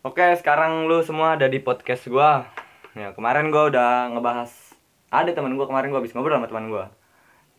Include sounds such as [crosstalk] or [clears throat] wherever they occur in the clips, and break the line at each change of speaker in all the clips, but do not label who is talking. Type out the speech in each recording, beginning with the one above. Oke, sekarang lu semua ada di podcast gua. Ya, kemarin gua udah ngebahas ada teman gua kemarin gua habis ngobrol sama teman gua.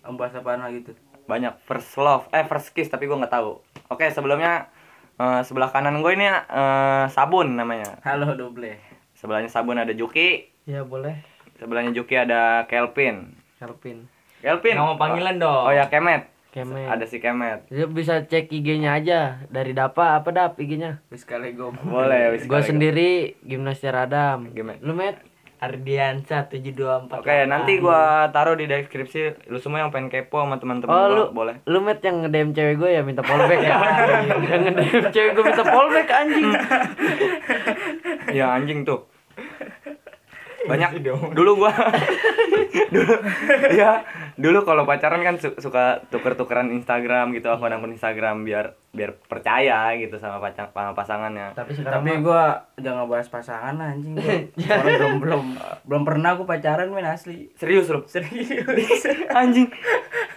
Membahas apaan lagi tuh?
Banyak first love, eh first kiss tapi gua nggak tahu. Oke, sebelumnya eh, sebelah kanan gua ini eh, sabun namanya.
Halo Doble.
Sebelahnya sabun ada Juki,
Ya boleh,
sebelahnya Juki ada Kelvin.
Kelvin.
Kelvin.
Nama panggilan dong.
Oh, ya Kemet.
Kemet.
Ada si Kemet.
Jadi bisa cek IG-nya aja dari Dapa apa Dap IG-nya?
Wis kali gom.
Boleh, wis
Gue
sekali.
sendiri Gimnasia Radam.
ya? Gimana?
Lu Met?
Ardiansa 724.
Oke, nanti gua taruh di deskripsi lu semua yang pengen kepo sama teman-teman
Oh
gua,
lu
boleh.
Lu Met yang nge-DM cewek gue ya minta polback
[laughs]
ya. yang nge-DM cewek gue minta polback anjing.
ya anjing tuh banyak dulu gua [laughs] dulu ya dulu kalau pacaran kan su- suka tuker-tukeran Instagram gitu akun akun Instagram biar biar percaya gitu sama pacar sama pasangannya
Tapi sekarang
Tapi
mah-
gua udah ngebahas pasangan anjing
[laughs]
gua.
Iya.
Orang belum belum belum pernah gua pacaran men asli.
serius lu [laughs]
Serius.
anjing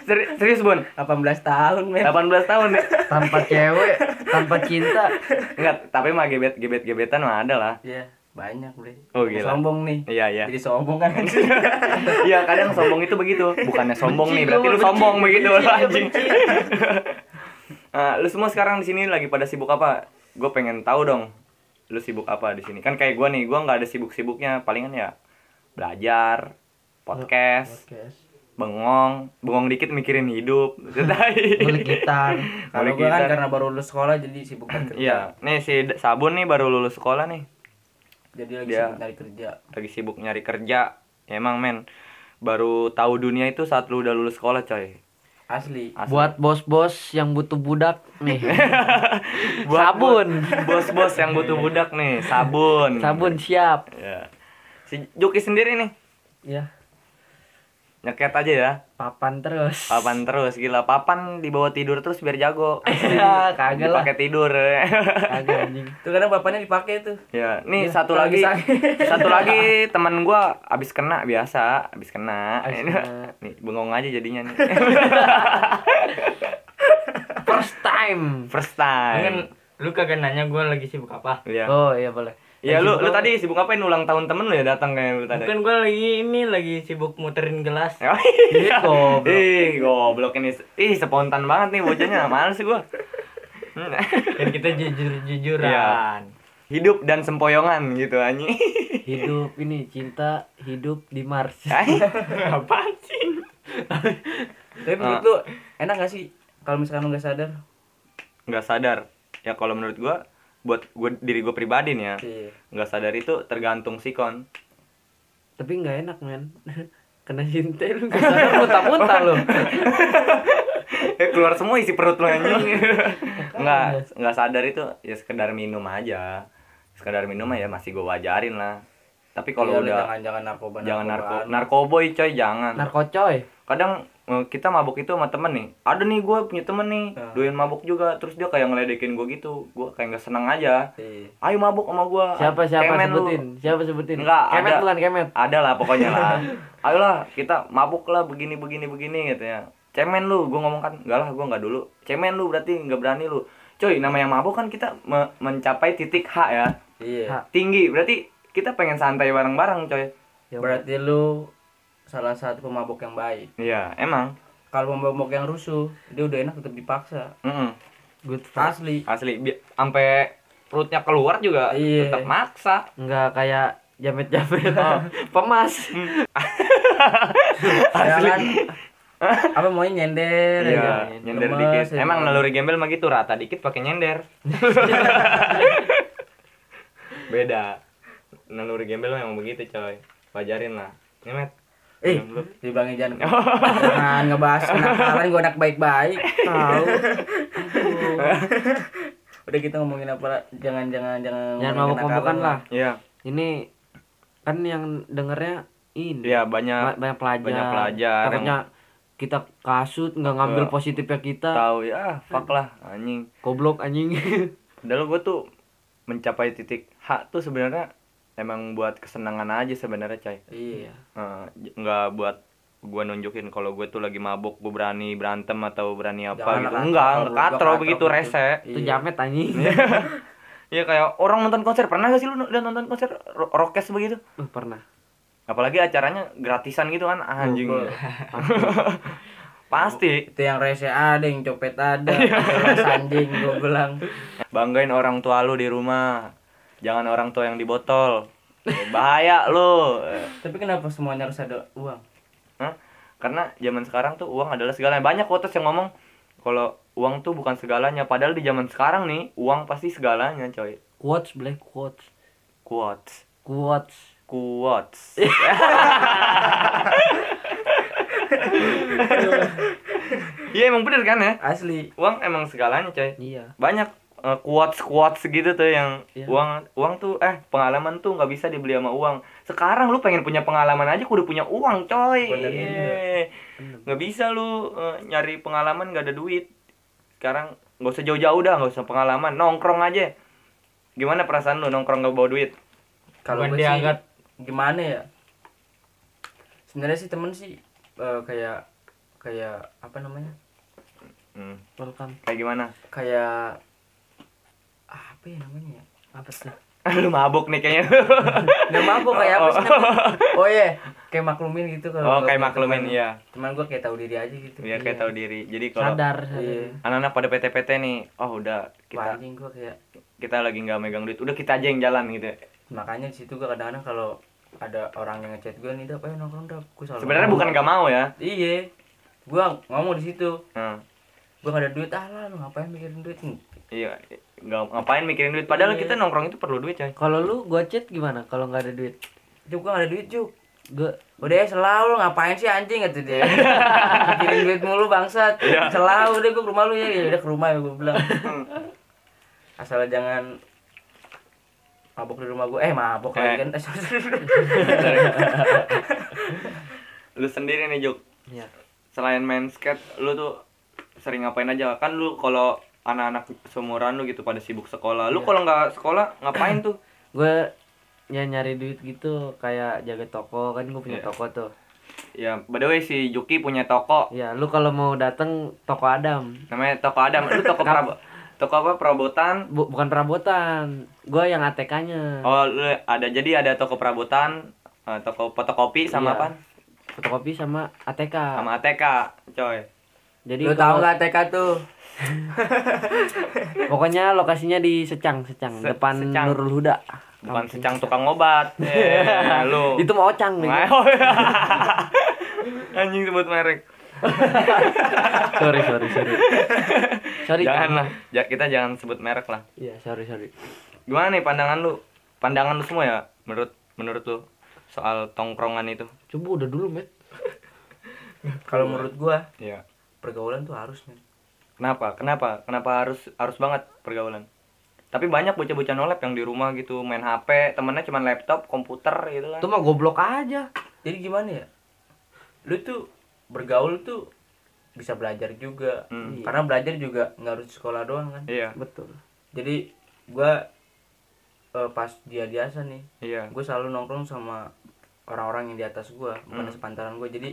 Seri- serius bun
18 tahun
18
men.
tahun deh
tanpa cewek, tanpa cinta.
enggak tapi mah gebet gebet gebetan mah ada lah
Iya, banyak, Bre.
Oh, gila.
Sombong nih.
iya iya
Jadi sombong kan anjing.
Iya kadang sombong itu begitu Bukannya sombong nih
Benci
Berarti
gua,
lu
benci.
sombong begitu
Benci,
lah,
gua
anjing [laughs] Nah, Lu semua sekarang di sini lagi pada sibuk apa? Gue pengen tahu dong Lu sibuk apa di sini? Kan kayak gue nih Gue nggak ada sibuk-sibuknya Palingan ya Belajar Podcast
Podcast.
Bengong Bengong dikit mikirin
[laughs]
hidup
Beli
Sedai
gitar.
[laughs] Kalau
Boleh
gua kan
kita.
karena baru lulus sekolah jadi sibuk cari kerja.
Iya Nih si D- Sabun nih baru lulus sekolah nih
Jadi lagi
Dia-
sibuk cari kerja.
Lagi sibuk nyari kerja Ya Emang men Baru tahu dunia itu saat lu udah lulus sekolah coy
Asli.
Asli.
Buat bos-bos yang butuh budak nih. sabun. Iya.
bos-bos yang butuh budak nih sabun
Sabun siap.
ya. si Juki sendiri nih
Ya,
nyeket aja ya
papan terus.
papan terus gila papan dibawa tidur terus biar jago
[laughs] Ya, kagak lah.
pakai tidur [laughs]
Kagak anjing.
Itu kadang bapaknya dipakai tuh.
ya nih
Ya,
Iya,
satu
lagi
lagi
sakit.
satu lagi teman gua abis kena biasa abis kena
Abis
Ini-
kena.
[laughs] nih bengong aja jadinya
[laughs]
nih
First time.
first
Kan
time
lu kagak nanya gua lagi sibuk apa?
Iya.
Oh iya boleh.
Ya
Lagi
lu lu
gua-
tadi sibuk ngapain ulang tahun temen lu ya datang kayak lu tadi.
Bukan gua lagi ini lagi sibuk muterin gelas.
Oh,
Ih,
iya.
goblok.
Ih, goblok ini. Ih, spontan banget nih bocahnya. Males gua. Hmm.
Dan kita jujur-jujuran.
Iya. Hidup dan sempoyongan gitu anjing.
hidup ini cinta hidup di Mars.
Apaan sih?
Tapi
Ah.
menurut lu enak gak sih kalau misalkan lu gak sadar?
Enggak sadar. Ya kalau menurut gua buat gua diri gua pribadi nih ya.
Iya.
Enggak sadar itu tergantung sikon.
Tapi nggak enak men. [laughs] Kena cinta lu nggak sadar muntah-muntah lu.
Eh keluar semua isi perut lu anjing. Enggak, enggak sadar itu ya sekedar minum aja. Sekedar minum ya masih gua wajarin lah. Tapi
Iya,
kalau
lu
udah
jangan jangan narkoba
jangan narko
narkobaan.
narkoboy coy jangan.
Narkocoy.
kadang eh, kita mabuk itu sama temen nih ada nih gue punya temen nih
Ah.
doyan mabuk juga terus dia kayak ngeledekin gue gitu gue kayak nggak seneng aja
Iya.
ayo mabuk sama gue
Siapa siapa
Kemen lu.
sebutin? Siapa sebutin?
Nggak,
kemet
ada.
bukan kemet.
ada lah pokoknya
[laughs]
lah ayolah kita mabuk lah begini begini begini gitu ya cemen lu gue ngomong kan enggak lah gue nggak dulu cemen lu berarti nggak berani lu coy namanya mabuk kan kita me- mencapai titik H ya
Iya.
Ha.
tinggi berarti kita pengen santai bareng-bareng coy
Ya,
Berarti lu salah satu pemabok yang baik.
iya emang
Kalau pemabok yang rusuh, dia udah enak tetap dipaksa.
Mm-mm.
good for.
Asli.
asli bi- sampai perutnya keluar juga
Iya.
tetap maksa
Nggak kayak jamet-jamet.
Oh.
Pemas.
[laughs] Ya kan? Apa maunya nyender ya
Iya,
kan?
nyender
Gemes,
dikit.
ya
Emang
kan?
naluri gembel mah gitu rata dikit pakai nyender. Beda. Naluri gembel memang begitu, coy. Wajarin lah. Iya, Nyemet.
Eh, dibilangin
[laughs]
jangan
Oh.
jangan ngebahas kenakalan gua anak baik-baik.
Tahu.
Udah kita ngomongin apa? lah? Jangan jangan jangan.
[laughs] Jangan
ngomongin
mabuk-mabukan
kenakalan.
lah.
Iya,
Ini kan yang dengernya ini.
iya
Ba-
banyak
banyak pelajar.
banyak pelajar yang-
Takutnya kita kasut nggak ngambil
Iya.
positifnya kita.
tahu ya, fuck lah anjing.
Goblok
[laughs]
anjing.
Padahal gue tuh mencapai titik H tuh sebenarnya emang buat kesenangan aja sebenarnya, coy.
Iya.
Eh, j- nggak buat gue nunjukin kalau gue tuh lagi mabuk gue berani berantem atau berani apa
Jangan
gitu
lah,
enggak
katro,
enggak
gua
katro
katro
begitu
gitu.
rese
Itu
Iya.
jamet anjing.
gitu, Iya kayak orang nonton konser pernah gak sih lu udah nonton konser ro- rockes begitu?
Oh, [laughs] pernah.
Apalagi acaranya gratisan gitu kan ah, anjing.
Gua-
[laughs] Pasti
itu yang rese ada yang copet
[laughs]
ada yang sanjing gue bilang
banggain orang tua lu di rumah. Jangan orang tua yang di botol. Bahaya lu.
tapi kenapa semuanya harus ada uang
Hah? Karena zaman sekarang tuh uang adalah segalanya. Banyak quotes yang ngomong kalau uang tuh bukan segalanya. Padahal di zaman sekarang nih uang pasti segalanya, coy.
Quotes, Black quotes.
Quotes.
Quotes.
Quotes. Iya emang bener kan ya?
asli
Uang emang segalanya, coy.
Iya.
Banyak eh, quotes-quotes gitu tuh yang
Iya.
uang uang tuh eh pengalaman tuh nggak bisa dibeli sama uang. Sekarang lu pengen punya pengalaman aja kudu punya uang, coy.
Bener
Iya.
Bener.
Nggak bisa lu eh, nyari pengalaman nggak ada duit. Sekarang nggak usah jauh-jauh dah, nggak usah pengalaman, nongkrong aja. Gimana perasaan lu nongkrong nggak bawa duit?
kalau
Bukan
gue sih
diangkat.
gimana ya sebenarnya sih temen sih eh, kayak kayak apa namanya
Hmm.
Welcome.
Kayak gimana? [laughs]
kayak ah, apa ya namanya ya
Apa tuh?
lu mabuk nih
[laughs]
kayaknya.
nggak
[laughs]
mampu kayak apa sih namanya oh iya kayak maklumin gitu
oh,
kalau
kayak maklumin
ya
iya.
teman gue kayak tahu diri aja gitu
Biar kayak tahu diri. Jadi kalau
Iya. Sadar, sadar.
Iya.
anak-anak pada PT-PT nih, oh udah
Wah,
kita
anjing gue kayak
kita lagi nggak megang duit, udah kita aja yang jalan gitu.
makanya di situ gue kadang-kadang kalau ada orang yang ngechat gue nih dap ayo nongkrong dap gue selalu
Sebenarnya bukan nggak mau ya.
iya gue ngomong di situ
Nah,
gue gak ada duit ah lah lu ngapain mikirin duit Hmm.
iya, nggak ngapain mikirin duit. Padahal
Iya.
kita nongkrong itu perlu duit, coy.
Kalau lu gua chat gimana kalau nggak ada duit?
Juk gue gak ada duit Juk
Gua
Udah ya selalu ngapain sih anjing gitu
[laughs]
dia Mikirin duit mulu bangsat
Iya.
Selalu deh gue ke rumah lu ya Ya udah ke rumah ya gue bilang
Hmm.
Asal jangan Mabok di rumah gue Eh mabok
Eh.
lagi kan
Lu sendiri nih, Juk.
ya.
Selain main skate, lu tuh sering ngapain aja? Kan lu kalau anak-anak seumuran lu gitu pada sibuk sekolah. Lu kalau nggak sekolah ngapain [clears throat] tuh?
Gua ya nyari duit gitu kayak jaga toko kan gua punya
Iya.
toko tuh.
Ya, by the way si Juki punya toko
Ya, lu kalau mau datang toko Adam.
namanya toko Adam. Lu toko prabo toko apa? Perabotan.
Bu- bukan perabotan. Gua yang ATK-nya.
Oh, lu ada jadi ada toko perabotan, eh, toko fotokopi sama
Iya.
apa?
Fotokopi sama ATK.
Sama ATK, coy.
Jadi
Lu kan?
kalau-
tau gak TK tuh
Pokoknya lokasinya di Secang, Secang,
Se-
depan
Secang.
Nurul Huda.
Bukan
Kampung
secang tukang
[laughs]
obat. Eh, lu. [laughs]
Itu mau ocang nih.
Ngayo. Anjing sebut merek.
sorry, sorry, sorry. sorry. Kang.
Janganlah, Ja- kita jangan sebut merek lah.
Iya, sorry, sorry.
Gimana nih pandangan lu? Pandangan lu semua ya menurut menurut lu soal tongkrongan itu?
Coba udah dulu, Met.
Kalau menurut gue
Iya.
Pergaulan tuh harus men
Kenapa? Kenapa? Kenapa harus harus banget pergaulan? Tapi banyak bocah-bocah nolep yang di rumah gitu main HP, temennya cuma laptop, komputer gitu kan.
Itu mah goblok aja.
Jadi gimana ya Lu tuh bergaul tuh bisa belajar juga
Hmm.
karena belajar juga nggak harus di sekolah doang kan
Iya.
Betul.
jadi gua eh, pas dia biasa nih
Iya.
gue selalu nongkrong sama orang-orang yang di atas gua
Hmm.
bukan sepantaran gue jadi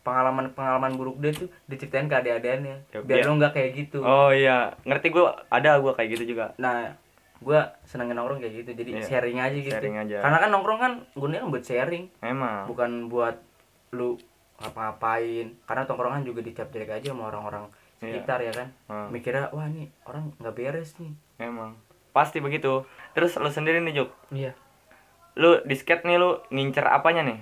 pengalaman pengalaman buruk dia tuh diceritain ke adik-adiknya
Ya,
biar
biar-
lo nggak kayak gitu
Oh iya, ngerti gue ada gue kayak gitu juga.
nah gua senengin nongkrong kayak gitu jadi
Iya.
sharing aja gitu
Sharing aja.
karena kan nongkrong kan gunanya kan buat sharing
Emang.
bukan buat lu ngapa-ngapain karena tongkrongan juga dicap jelek aja sama orang-orang
Iya.
sekitar ya kan
Hmm.
mikirnya wah nih orang nggak beres nih
Emang. Pasti begitu. Terus lu sendiri nih Juk,
Iya.
lu di skate nih lu ngincer apanya nih?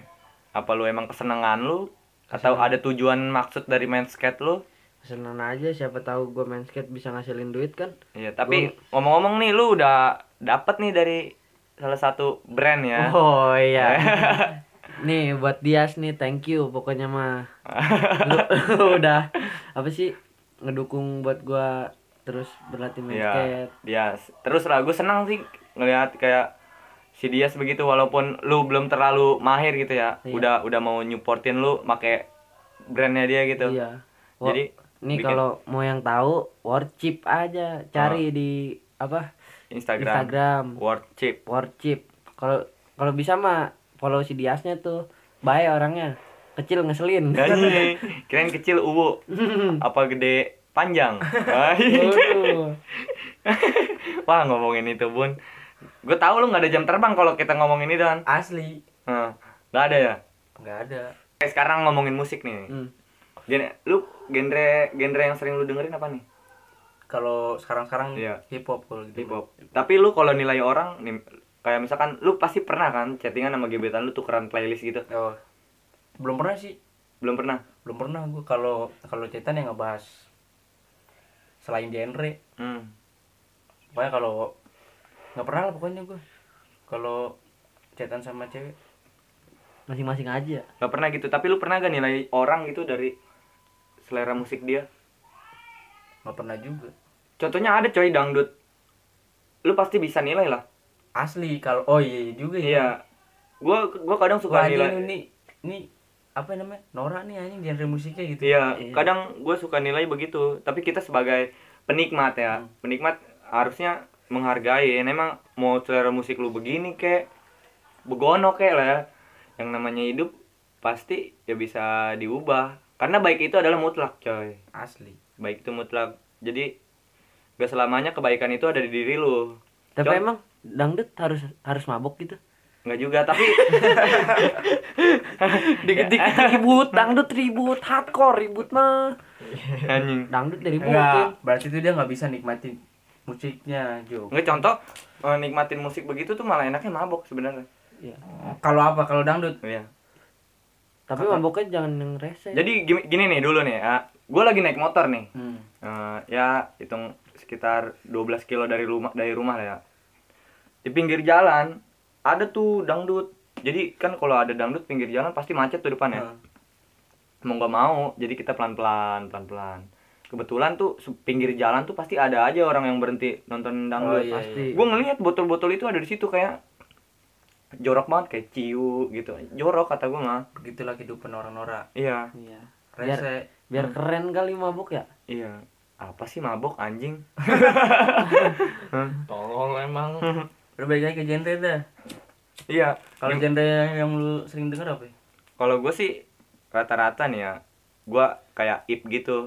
Apa lu emang kesenangan lu? Atau ada tujuan maksud dari main skate lu?
Senang aja siapa tahu gue main skate bisa ngasilin duit kan.
Iya, tapi ngomong-ngomong nih lu udah dapet nih dari salah satu brand ya.
Oh
[laughs]
iya. nih buat Dias nih, thank you pokoknya mah. Lu, lu [laughs] udah apa sih ngedukung buat gua terus berlatih main
Iya,
skate.
Dias. Terus lah, gue senang sih ngelihat kayak si Dias begitu walaupun lu belum terlalu mahir gitu ya.
Iya.
Udah udah mau nyuportin lu make brandnya dia gitu.
Iya.
Jadi,
nih
bikin-
kalau mau yang tahu worship aja cari di apa
Oh. Instagram.
Instagram.
Word chip.
worship. Kalau kalau bisa mah follow si Diasnya tuh baik orangnya kecil ngeselin.
Ya, iya. [laughs] Nyanyi. [laughs] Keren kecil uwu. Apa gede panjang. Wah,
[laughs]
[laughs]
Waduh.
Wah ngomongin itu bun, gue tahu lu nggak ada jam terbang kalau kita ngomongin itu kan.
Asli.
Heeh. Nggak ada ya.
Nggak ada.
Oke, sekarang ngomongin musik nih.
Hmm.
Gen lu genre genre yang sering lu dengerin apa nih?
Kalau sekarang-sekarang
Iya.
hip hop kalau gitu.
Hip hop. Tapi lu kalau nilai orang nih kayak misalkan lu pasti pernah kan chattingan sama gebetan lu tukeran playlist gitu.
Oh. Belum pernah sih.
Belum pernah.
Belum pernah gue kalau kalau cetan yang ngebahas selain genre.
Hmm.
Pokoknya kalau nggak pernah lah pokoknya gue. Kalau cetan sama cewek
masing-masing aja
Gak pernah gitu. Tapi lu pernah gak nilai orang gitu dari selera musik dia?
nggak pernah juga.
Contohnya ada coy dangdut. Lu pasti bisa nilai lah.
Asli kalau oh iya, iya juga ya.
Iya. Gua gua kadang
Wah,
suka nilai.
anjing ini ini apa namanya? Nora nih anjing genre musiknya gitu.
Iya, kadang gua suka nilai begitu. Tapi kita sebagai penikmat ya, penikmat harusnya menghargai. Emang mau selera musik lu begini kek, begono kek lah ya. Yang namanya hidup pasti ya bisa diubah. Karena baik itu adalah mutlak, coy.
Asli.
baik itu mutlak jadi gak selamanya kebaikan itu ada di diri lu
tapi
Cok.
emang dangdut harus harus mabok
[laughs]
gitu
nggak juga tapi
dikit-dikit Ya, ribut dangdut ribut hardcore ribut mah
anjing
dangdut dari
Enggak,
mungkin
berarti itu dia nggak bisa nikmatin musiknya, Jo.
nggak contoh eh, nikmatin musik begitu tuh malah enaknya mabok sebenarnya
Iya.
Kalau apa? Kalau dangdut?
Iya.
tapi maboknya jangan yang rese
jadi gini, gini nih dulu nih ya gue lagi naik motor nih
Hmm.
Eh, ya hitung sekitar 12 kilo dari rumah dari rumah lah ya di pinggir jalan ada tuh dangdut jadi kan kalau ada dangdut pinggir jalan pasti macet tuh depan ya
Hmm.
mau nggak mau jadi kita pelan pelan pelan pelan kebetulan tuh se- pinggir jalan tuh pasti ada aja orang yang berhenti nonton
Oh,
dangdut
iya,
pasti
iya.
gue ngelihat botol botol itu ada di situ kayak jorok banget kayak ciu gitu jorok kata gue mah
Begitulah kehidupan orang Nora.
iya
iya biar
Rese.
biar keren kali mabok ya
iya apa sih mabok anjing
Tolong emang.
Udah balik lagi ke genre dah.
iya
Kalau genre yang lu sering denger apa? ya?
kalau gue sih rata-rata nih ya gue kayak ip gitu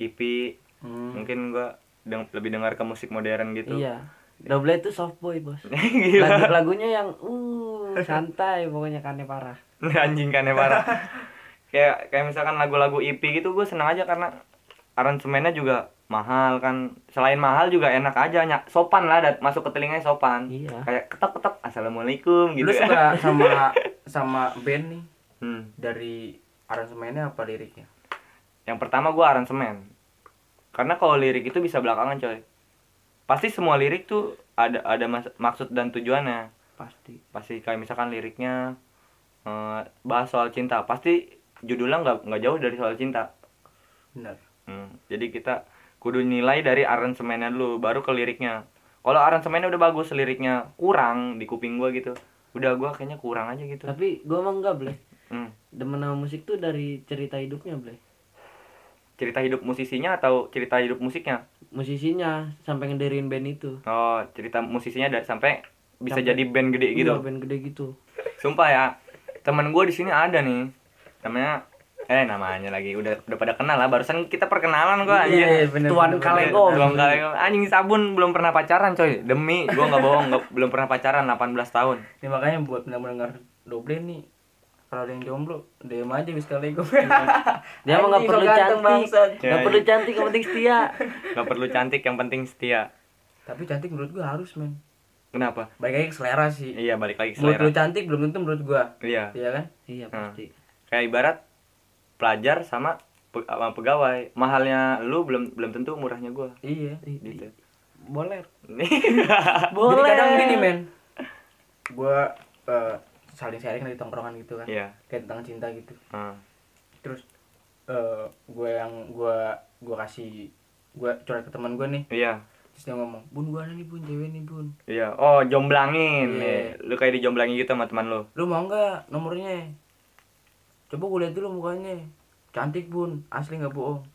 ipi
Hmm.
mungkin gue deng- lebih dengar ke musik modern gitu Iya.
iya double itu soft boy
[laughs]
bos
Iya.
Gila.
lagu-lagunya yang uh santai pokoknya kane parah
anjing kan ya
[laughs]
parah kayak kayak misalkan lagu-lagu IP gitu gue seneng aja karena aransemennya juga mahal kan selain mahal juga enak aja nyak sopan lah dat- masuk ke telinganya sopan
Iya.
kayak ketok ketok assalamualaikum gitu
Lu [laughs] suka sama sama band nih
[laughs] Hmm.
dari aransemennya apa liriknya?
yang pertama gue aransemen karena kalau lirik itu bisa belakangan coy pasti semua lirik tuh ada ada mas- maksud dan tujuannya
pasti
pasti kayak misalkan liriknya eh, bahas soal cinta pasti judulnya nggak nggak jauh dari soal cinta
Benar.
Hmm, jadi kita kudu nilai dari aransemennya dulu, baru ke liriknya. Kalau aransemennya udah bagus, liriknya kurang di kuping gua gitu. Udah gua kayaknya kurang aja gitu.
tapi gua emang enggak boleh
Hmm.
demen sama musik tuh dari cerita hidupnya boleh
Cerita hidup musisinya atau cerita hidup musiknya?
musisinya sampai ngederin band itu
Oh, cerita musisinya dari sampai bisa
Sampai-
jadi band gede gitu.
Iya, band gede gitu
Sumpah ya. Temen gua di sini ada nih. Namanya eh namanya lagi udah udah pada kenal lah barusan kita perkenalan
Iya,
kok
iya.
anjir.
benar.
Tuan Kalengko.
Kalengong. Belum Kalengong. Anjing sabun belum pernah pacaran, coy. Demi gua nggak bohong, nggak- belum pernah pacaran 18 tahun.
Ini makanya buat mendengar doble nih. Kalau ada yang jomblo, DM aja bisa kali
[laughs]
dia emang nggak perlu cantik
Ya,
nggak
iya.
perlu cantik yang penting setia
[laughs]
Gak perlu cantik, yang penting setia.
Tapi cantik menurut gua harus, men.
Kenapa?
Baik lagi ke selera sih.
Iya, balik lagi ke
Menurut lu
selera.
cantik belum tentu menurut gua.
Iya.
Iya kan?
iya
Hmm.
pasti
Kayak ibarat pelajar sama pe- sama pegawai. Mahalnya lu belum belum tentu murahnya gua.
Iya.
Gitu. [laughs] Iya.
boleh
Jadi
boleh
kadang gini, men. Gua eh, saling sharing dari tongkrongan gitu kan.
Iya.
Kayak tentang cinta gitu.
Hmm.
Terus eh gue yang gua gua kasih gua curhat ke teman gua nih.
Iya.
Terus dia ngomong, "Bun, gua ada nih, Bun, cewek nih, Bun.
Iya. Oh, jomblangin.
Iya.
Iya. Lu kayak dijomblangin gitu sama teman lu.
Lu mau nggak nomornya? Coba gue lihat dulu mukanya. Cantik, Bun. Asli nggak bohong."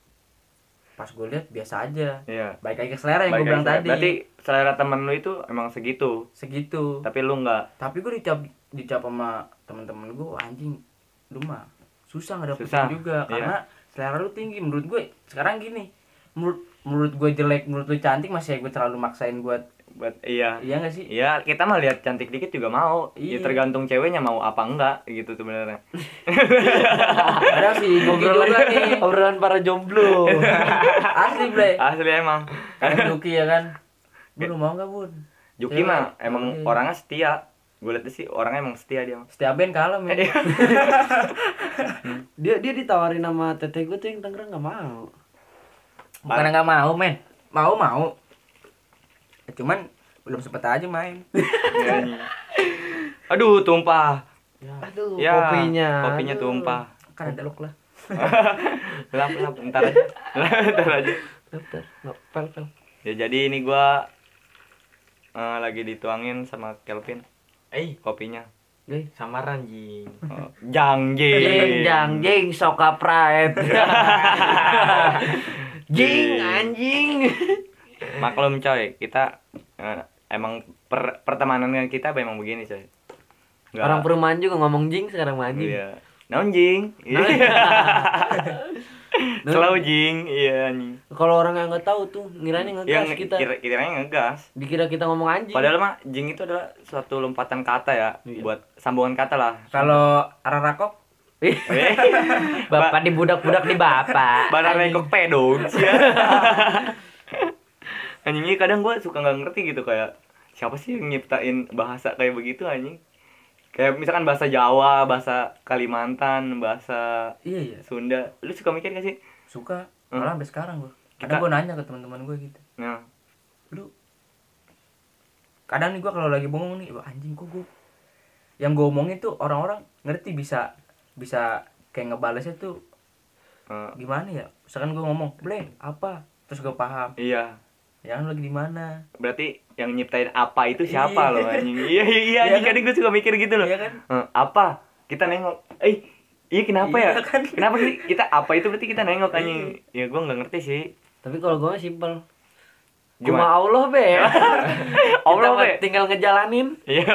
Pas gue lihat biasa aja.
Iya.
Baik lagi ke selera yang
Balik lagi
gue bilang
selera.
tadi.
Berarti selera temen lu itu emang segitu.
segitu.
Tapi lu nggak
tapi gue dicap dicap sama teman-teman gue anjing lu mah susah nggak dapetin
Susah,
juga
iya.
karena selera lu tinggi menurut gue sekarang gini menurut menurut gue jelek menurut lu cantik masih gue terlalu maksain buat
buat iya
iya gak sih
Iya, kita mah lihat cantik dikit juga mau. Ya,
Iya.
tergantung ceweknya mau apa enggak gitu sebenarnya.
ada sih Duki juga nih
Obrolan para
[laughs]
jomblo.
asli bre
Asli emang. [laughs]
kayak Duki ya kan bun lu mau gak bun
Juki
Cewek.
mah emang
Iya.
orangnya setia. Gue liat sih orangnya emang setia
[laughs]
dia. mah.
setiap band kalem ya
Iya.
dia dia ditawarin sama teteh gue tuh yang Tangerang nggak mau.
bukan nggak mau men mau mau cuman belum sempet aja main
Iya. Aduh, tumpah.
Aduh,
Ya,
kopinya.
Kopinya
Aduh.
tumpah.
kan ada look lah
Lap lap ntar aja. ntar aja.
Bentar, nggak, pel, pel.
Ya jadi ini gua eh, lagi dituangin sama Kelvin
Eh,
kopinya.
Deh.
samaran jing.
Oh,
[laughs]
Jangjing.
Jing, jang, jing, soka
[laughs]
pride. jing,
Jing.
anjing.
Maklum coy, kita eh, emang per- pertemanan kita emang begini coy. Nggak-
Orang perumahan juga ngomong jing sekarang mah anjing.
Iya. Naon
[laughs]
jing? Iya. [laughs] Selalu jing, iya anjing.
Kalau orang yang nggak tahu tuh, ngiranya ngegas
Yang
kita.
kira kiranya ngegas.
Dikira kita ngomong anjing. [laughs]
Padahal mah jing itu adalah suatu lompatan kata ya,
Iya.
buat sambungan kata
[laughs]
lah. Eh,
kalau Ararakok
bapak di budak-budak di bapak.
Banar
Anjing.
rekok
[laughs]
pedong. Anjingnya kadang gua suka nggak ngerti gitu kayak siapa sih yang nyiptain bahasa kayak begitu anjing? Kayak misalkan bahasa Jawa, bahasa Kalimantan, bahasa
iya iya
Sunda. Lu suka mikir gak sih?
suka
Hmm.
malah sampai sekarang gue
Kita-
kadang gue nanya ke teman-teman gue gitu
Nah,
lu kadang nih gue kalau lagi bengong nih wah anjing kok gue yang gue omongin tuh orang-orang ngerti bisa bisa kayak ngebalesnya tuh
eh,
gimana ya misalkan gue ngomong ble apa terus gue paham
iya.
ya lu lagi di mana
Berarti yang nyiptain apa itu siapa
Iya.
loh anjing? Iya iya iya
Iya
anjing
kan?
kadang gue suka mikir gitu loh.
Iya kan?
Eh, apa? Kita nengok. Eh, iya kenapa
Iya
ya?
kan? Iya.
Kenapa sih kita apa itu berarti kita nengok anjing? Ya gua nggak ngerti sih.
Tapi kalau gue mah simpel. Cuma
Gimana?
Allah be.
[laughs] Allah,
Kita mah
be.
Tinggal ngejalanin,
Iya.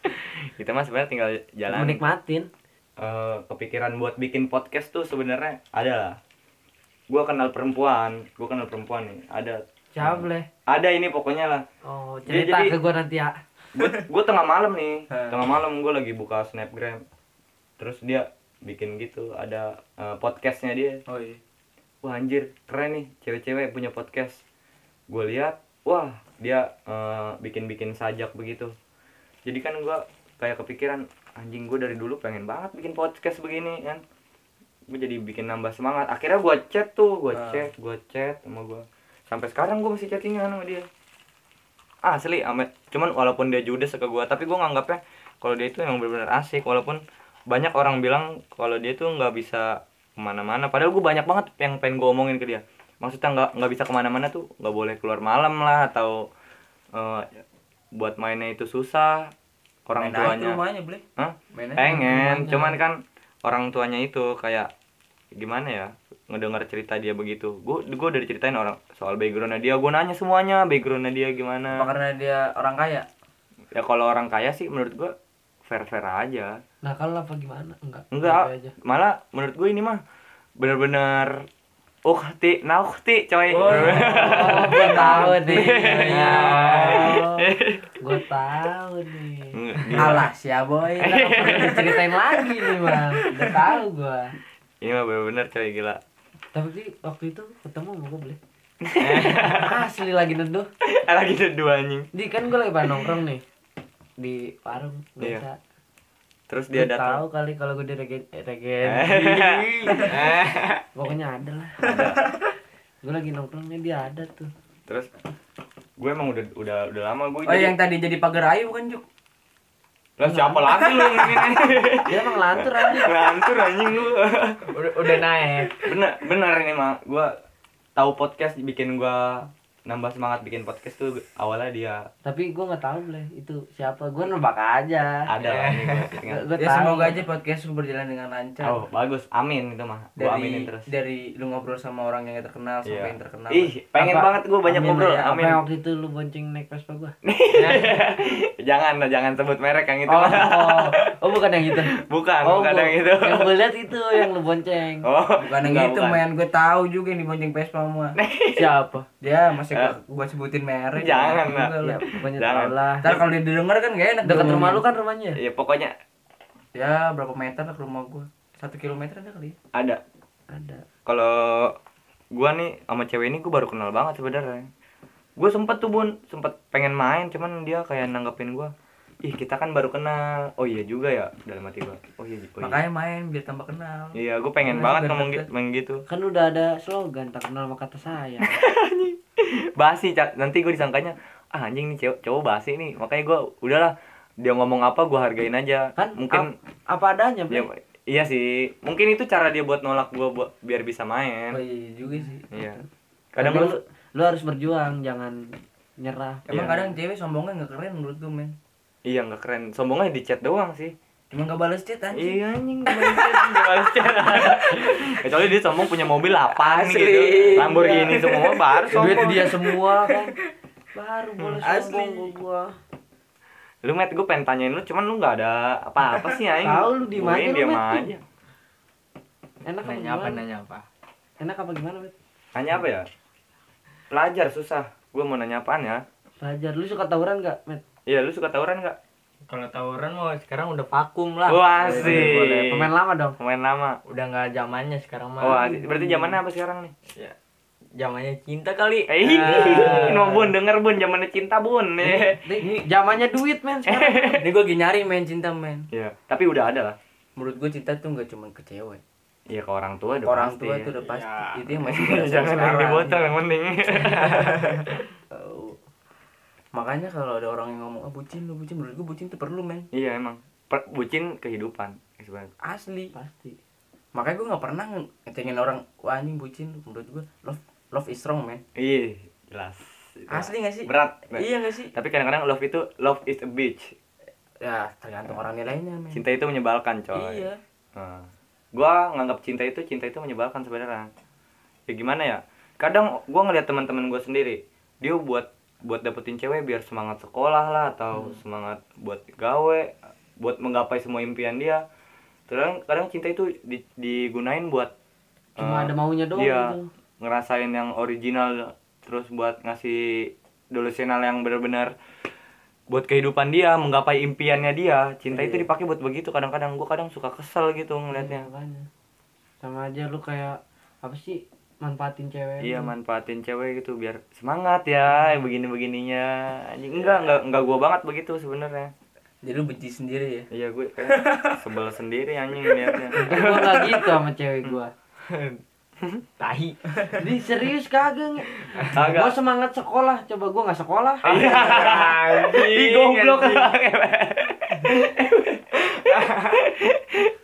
[laughs] kita mah sebenarnya tinggal jalan.
menikmatin.
Eh, kepikiran buat bikin podcast tuh sebenarnya ada lah. Gua kenal perempuan, gua kenal perempuan nih. Ada
Siapa boleh?
ada ini pokoknya lah.
Oh,
Hmm. Jadi-
cerita
jadi-
ke gue nanti ya.
gue tengah malam nih
Hah.
tengah malam gue lagi buka snapgram terus dia bikin gitu ada eh, podcastnya dia
oh iya
wah anjir keren nih cewek-cewek punya podcast gue lihat wah dia eh, bikin-bikin sajak begitu jadi kan gue kayak kepikiran anjing gue dari dulu pengen banget bikin podcast begini kan gue jadi bikin nambah semangat akhirnya gue chat tuh gue
Ah.
chat gue chat sama gue sampai sekarang gue masih chattingan sama dia asli ame cuman walaupun dia judes ke gue tapi gue nganggapnya kalau dia itu emang benar-benar asik walaupun banyak orang bilang kalau dia tuh nggak bisa kemana-mana padahal gue banyak banget yang pengen gue omongin ke dia maksudnya nggak nggak bisa kemana-mana tuh nggak boleh keluar malam lah atau eh, buat mainnya itu susah orang
Main aja
tuanya
ke rumahnya ble
Hah?
Main aja
pengen
rumahnya.
cuman kan orang tuanya itu kayak gimana ya ngedengar cerita dia begitu gue gue udah diceritain orang soal backgroundnya dia gue nanya semuanya backgroundnya dia
apa
gimana
karena dia orang
[laughs]
kaya
ya kalau orang kaya sih menurut gue fair fair aja
Nah, kalau apa gimana? Enggak.
enggak
santai aja.
malah menurut gue ini mah bener-bener ukti naukti coy [laughs]
Oh, gue tahu nih.
Iya.
gue tahu nih.
[laughs] Enggak, dia-
alah si
[laughs]
boy
Nggak
Iya.
perlu diceritain lagi nih, Bang. Udah tahu gue.
ini mah bener-bener coy gila [laughs]
Tapi waktu itu ketemu sama gue boleh. Asli lagi nenduh.
lagi ada dua anjing
Di kan gue lagi pada nongkrong nih di warung
Iya.
biasa.
terus dia
Lu
[laughs]
tahu
datang
kali kalau gue di regen eh, regen. Pokoknya ada lah. gue lagi nongkrongnya dia ada tuh.
terus gue emang udah udah udah lama gue
oh yang tadi jadi pagar ayu bukan juk
Lah siapa lagi lu yang ini? [laughs]
Dia emang lantur aja.
Ngantur anjing lu.
Udah, udah naik.
bener bener ini mah gua tahu podcast bikin gua nambah semangat bikin podcast tuh awalnya dia
tapi gue nggak tahu boleh itu siapa gue nebak aja
ada lah ini gua ingat.
gue
ya semoga aja podcast lu berjalan dengan lancar
Oh, bagus. Amin itu mah. Gua aminin
dari
terus.
dari lu ngobrol sama orang yang gak terkenal sampai
Iya.
yang terkenal
Ih, pengen
Apa-
banget gue banyak
amin
ngobrol.
ya, apa
amin.
yang waktu itu lu bonceng naik Vespa gue
[laughs] jangan lah, jangan sebut merek yang itu.
oh,
lah.
oh oh bukan yang itu
Gitu. Bukan,
oh,
bukan
bu-
yang itu.
yang gue lihat itu yang lu bonceng
[laughs] Oh,
bukan yang
enggak,
gitu
bukan.
men gue tahu juga yang dibonceng Vespa mah
siapa
dia masih gua, gua sebutin merek
Jangan
Jangan
lah.
juga lu.
ya pokoknya
Jangan.
tau lah
ntar kalau dia denger kan gak enak
dekat
dong.
rumah lu kan rumahnya
Ya pokoknya
ya berapa meter lah ke rumah gua satu kilometer ada kali ya?
ada.
ada
Kalau gua nih sama cewek ini gua baru kenal banget sebenarnya. Gue sempet tuh bun, sempet pengen main, cuman dia kayak nanggepin gua. Ih kita kan baru kenal. Oh iya juga ya dalam hati gua. Oh iya. Oh, iya.
makanya main biar tambah kenal
Iya, gue pengen
Makanya
banget
biar
ngomong
deket.
gitu, ngomong gitu.
kan udah ada slogan tak kenal maka kata saya
basi Cak. nanti gue disangkanya ah anjing nih cewek cowok basi nih makanya gue udahlah dia ngomong apa gue hargain aja
[laughs]
kan
mungkin
ap- apa adanya
ya,
Bre.
iya sih mungkin itu cara dia buat nolak gue buat biar bisa
oh,
main
iya juga sih
iya kadang lu
kadang lu, lu harus berjuang jangan nyerah
emang
Iya.
kadang cewek sombongnya gak keren menurut gua men
iya nggak keren sombongnya di chat doang sih
cuma gak balas chat anjing
iya anjing nggak balas chat, nggak balas chat
[laughs]
kecuali dia sombong punya mobil apa
Asli.
gitu Lamborghini semua baru
duit
sombong
dia
[laughs]
semua kan baru boleh
Hmm, Asli.
sombong gua- gua
lu met gue pengen tanyain lu cuman lu nggak ada apa-apa sih anjing
Tahu lu diem
Gue
aja lu,
diem
Met.
aja
enak apa
nanya apa
gimana
nanya apa
enak apa gimana Bet?
Nanya apa ya? Pelajar susah. Gue mau nanya apaan ya?
pelajar lu suka tawuran nggak met
Iya, lu suka tawuran nggak?
kalau tawuran mau sekarang udah vakum lah
Wah,
Boleh,
sih.
boleh.
Iya.
Eh, pemain lama dong
Pemain lama.
udah nggak zamannya sekarang mah
Wah, asik. berarti zamannya apa sekarang nih?
ya zamannya cinta kali Ah.
Eh, ini mau bun, denger bun, zamannya cinta bun. Iya.
Nih, zamannya duit men
[laughs]
sekarang
ini gua lagi nyari men cinta men
Tapi udah ada lah.
menurut gua cinta tuh gak cuma ke cewek
Iya, ke orang tua udah
orang
pasti.
tua
ya.
tuh
[laughs]
udah pasti
Iya.
itu yang masih berasa
Jangan yang di
sekarang.
botol yang
[laughs]
penting.
Tahu. makanya kalau ada orang yang ngomong ah bucin lu bucin menurut gua bucin tuh perlu men
iya, emang. Per- bucin kehidupan eh, sebenarnya.
asli
pasti
makanya gua nggak pernah nge- ngecengin orang wah anjing bucin lu." menurut gua love love is strong men
Iya, jelas.
asli gak sih
Iya. Berat. Met.
iya gak sih
Tapi kadang-kadang love itu love is a bitch.
ya tergantung orang nilainya men
Cinta itu menyebalkan, coy.
iya
Nah, gua nganggap cinta itu cinta itu menyebalkan sebenarnya. Ya gimana ya? Kadang gua ngeliat teman-teman gua sendiri, dia buat buat dapetin cewek biar semangat sekolah lah atau
Hmm.
semangat buat gawe, buat menggapai semua impian dia. Kadang kadang cinta itu di- digunain buat
Cuma
eh,
ada maunya doang
Iya.
gitu.
Ngerasain yang original terus buat ngasih delusional yang benar-benar buat kehidupan dia menggapai impiannya dia cinta itu dipakai buat begitu kadang-kadang gue kadang suka kesel gitu ngelihatnya
makanya sama aja lu kayak apa sih manfaatin cewek
iya
lu.
manfaatin cewek gitu biar semangat ya begini begininya anjing enggak enggak enggak gue banget begitu sebenarnya
jadi lu benci sendiri ya
iya gue kayak [laughs] sebel sendiri anjing liatnya
gua nggak gitu sama cewek
[laughs]
gua
tahi
Ini serius kagak nge-
Kagak. Ah, iya.
Gua semangat sekolah, coba gua nggak sekolah.
Ih goblok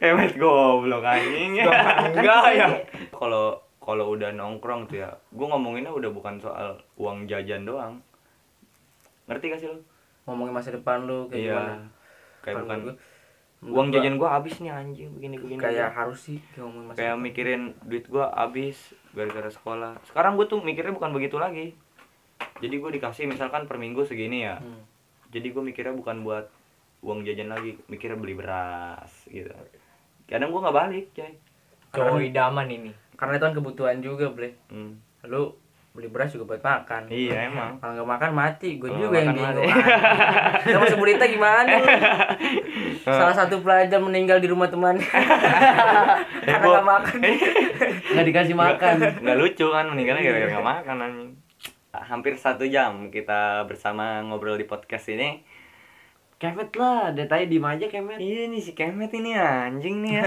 Emet goblok anjing. Enggak ya. Kalau kalau udah nongkrong tuh ya, gue ngomonginnya udah bukan soal uang jajan doang. Ngerti gak sih lo?
ngomongin masa depan lu kayak gimana
Iya, Kayak bukan
Menurut gua-
uang
menurut gua
jajan gue habis nih anjing begini begini.
kayak harus sih kayak ngomongin masa
kayak
depan.
mikirin duit gua habis gara-gara sekolah sekarang gue tuh mikirnya bukan begitu lagi jadi gue dikasih misalkan per minggu segini ya
Hmm.
jadi gue mikirnya bukan buat uang jajan lagi mikirnya beli beras gitu kadang gua nggak balik coy
cowok idaman ini
kan karena itu kan kebutuhan juga bre
Hmm.
lu beli beras juga buat makan
iya emang
kalau nggak makan mati gue
Kalau
juga yang
nggak makan
bingung
mati.
[laughs] Ah, sama seberita gimana
[laughs]
lu? salah satu pelajar meninggal di
[laughs]
rumah temannya [laughs] karena
Heboh.
nggak makan [laughs]
Nggak dikasih makan.
Eh, nggak lucu kan meninggalnya gara-gara nggak makan anjing hampir satu jam kita bersama ngobrol di podcast ini
Kemet lah, dari tadi diem aja kemet.
iya nih si Kemet ini anjing nih ya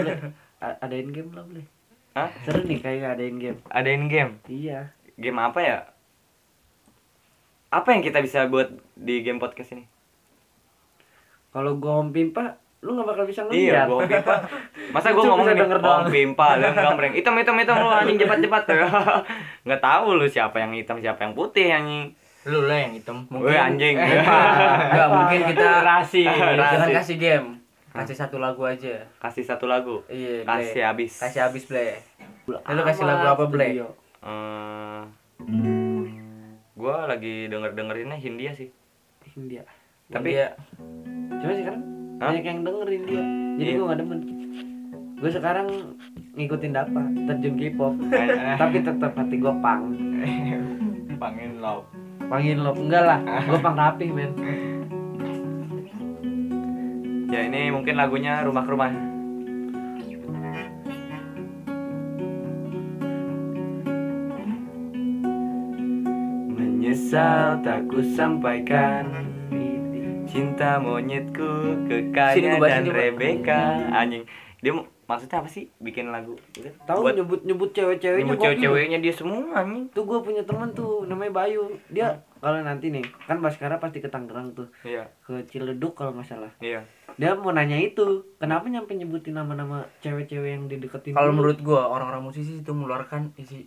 A- adain game lah boleh.
Hah?
Seru nih kayak adain game.
adain game
Iya.
game apa ya? Apa yang kita bisa buat di game podcast ini?
Kalau gua home pimpa lu nggak bakal bisa ngeliat
Iya, bohong pimpa. Masa gue
Itu
ngomong
bisa
nih,
denger
bohong
doang.
pimpa, lu gambreng. Hitam, hitam, hitam, lu anjing cepat-cepat. Nggak tahu lu siapa yang hitam, siapa yang putih, anjing.
Lu lah yang hitam.
Woi, anjing.
Enggak, mungkin
[laughs]
kita
Rahasia.
jangan
Rasis.
kasih game. Kasih satu lagu aja.
Kasih satu lagu.
Iya, Ble.
Kasih habis.
Kasih habis, Ble. Lu kasih lagu apa,
iya.
Ble?
Eh, gua lagi denger-dengerinnya Hindia sih.
India
Tapi
Iya.
Cuma sekarang
Hah?
banyak yang dengerin dia. Jadi
Iya.
gue gak demen. Gue sekarang ngikutin Dapa, terjun K-pop.
Eh.
Tapi tetap hati gue pang.
Pangin lau.
Pangin lo enggak lah.
Ah.
Gue pang rapi, men.
ya ini mungkin lagunya rumah ke rumah. Menyesal tak ku sampaikan Cinta monyetku
Sini
Kekanya
gua bahas
dan
ini, Pak.
Rebecca Anjing Dia mau- maksudnya apa sih bikin lagu?
Iya kan? Tahu
Buat-
nyebut-nyebut cewek-ceweknya.
nyebut
gokil.
cewek-ceweknya dia semua anjing
Tuh gue punya teman tuh namanya Bayu.
Hmm.
Dia kalau nanti nih, kan Baskara pasti ke Tangerang tuh.
Iya,
Ke Ciledug kalau nggak salah.
iya.
Dia mau nanya itu, kenapa nyampe nyebutin nama-nama cewek-cewek yang dideketin?
Kalau
dulu?
menurut gua orang-orang musisi itu mengeluarkan isi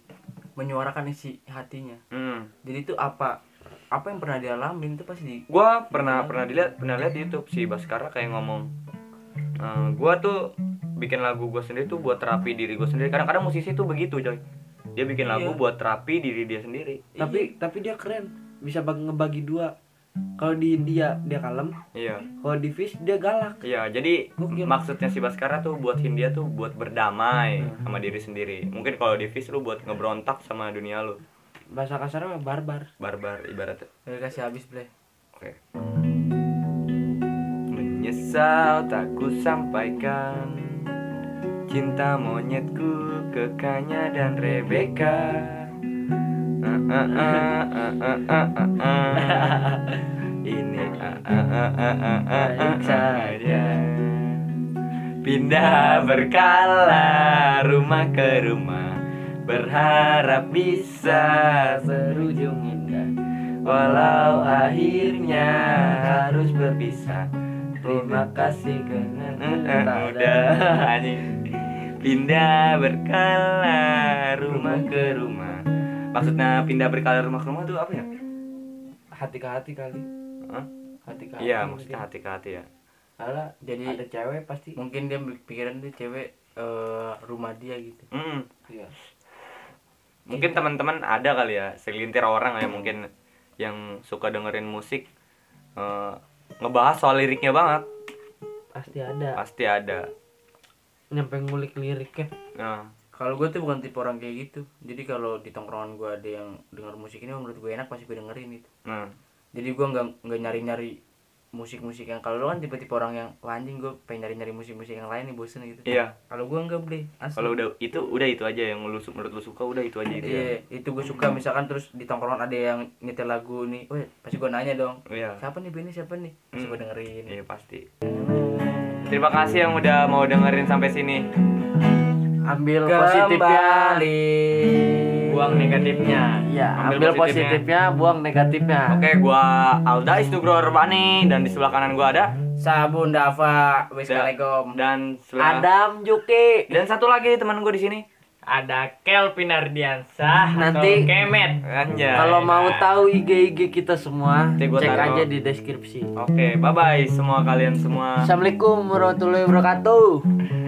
menyuarakan isi hatinya.
Hmm.
Jadi itu apa? Apa yang pernah dialamin itu pasti di
Gua pernah pernah dilihat pernah lihat di YouTube si Baskara kayak ngomong "Eh, gua tuh bikin lagu gua sendiri tuh buat terapi diri gua sendiri. Kadang-kadang musisi tuh begitu, coy. Dia bikin lagu
Iya.
buat terapi diri dia sendiri. Iya.
tapi tapi dia keren bisa bag- ngebagi dua kalau di India dia kalem
Iya.
kalau di fish dia galak
Iya, jadi
Gokil.
maksudnya si Baskara tuh buat Hindia tuh buat berdamai sama diri sendiri. Mungkin kalau di Fis lu buat ngebrontak sama dunia lu.
bahasa kasarnya mah barbar
Barbar ibaratnya.
Udah eh, kasih habis, Ble.
Oke. Menyesal tak ku sampaikan Cinta monyetku kekanya dan Rebecca Ah, ah, ah, ah, ah, ah, ah, ah. Ini ah, ah, ah, ah, ah, ah, ah, ah, ya. Pindah berkala rumah ke rumah Berharap bisa
berujung indah
Walau akhirnya harus berpisah Terima kasih
dengan
kerana Iya. Ah, udah anjing Pindah berkala rumah ke rumah Maksudnya pindah berkala rumah ke rumah tuh apa ya?
hati ke hati kali
Hah?
hati ke hati
Iya maksudnya hati ke hati ya
Alah,
Jadi-
ada cewek pasti
Mungkin dia pikiran tuh cewek eh, rumah dia gitu.
Mm.
Iya.
Mungkin teman-teman ada kali ya segelintir orang ya mungkin yang suka dengerin musik eh, ngebahas soal liriknya banget
pasti ada
pasti ada.
nyampe ngulik ya. liriknya
Nah,
Kalau gue tuh bukan tipe orang kayak gitu. Jadi kalau di tongkrongan gue ada yang denger musik ini menurut gue enak pasti gue dengerin gitu. itu.
nah.
Jadi gue nggak nggak nyari-nyari musik-musik yang kalau lu kan tipe-tipe orang yang "Wah, anjing gue pengen nyari-nyari musik-musik yang lain nih bosen gitu.
Iya.
Kalau gue nggak beli. Asli.
kalau udah itu udah itu aja yang lu su- menurut lu suka udah itu aja
gitu
itu ya.
Iya, itu gue suka misalkan terus di tongkrongan ada yang nyetel lagu nih. Wah, pasti gue nanya dong.
Iya.
Siapa nih bandnya siapa nih? Pasti
Hmm.
gue dengerin.
Iya pasti. Terima kasih yang udah mau dengerin sampai sini.
ambil positifnya
Kembali.
Buang negatifnya.
ya
Ambil
ambil,
positifnya.
positifnya buang negatifnya
Oke, gua Alda Istugro Urbani dan di sebelah kanan gua ada
Sabun Dava. Wassalamualaikum.
dan sebelah
Adam Juki
dan satu lagi teman gua di sini.
Ada Kelvin Ardiansyah
Nanti-
atau Kemet.
Anjay.
kalau mau tahu IG IG kita
Iya,
semua
Nanti gua
cek
taruh.
aja di deskripsi
Oke, bye bye semua kalian semua.
Assalamualaikum warahmatullahi wabarakatuh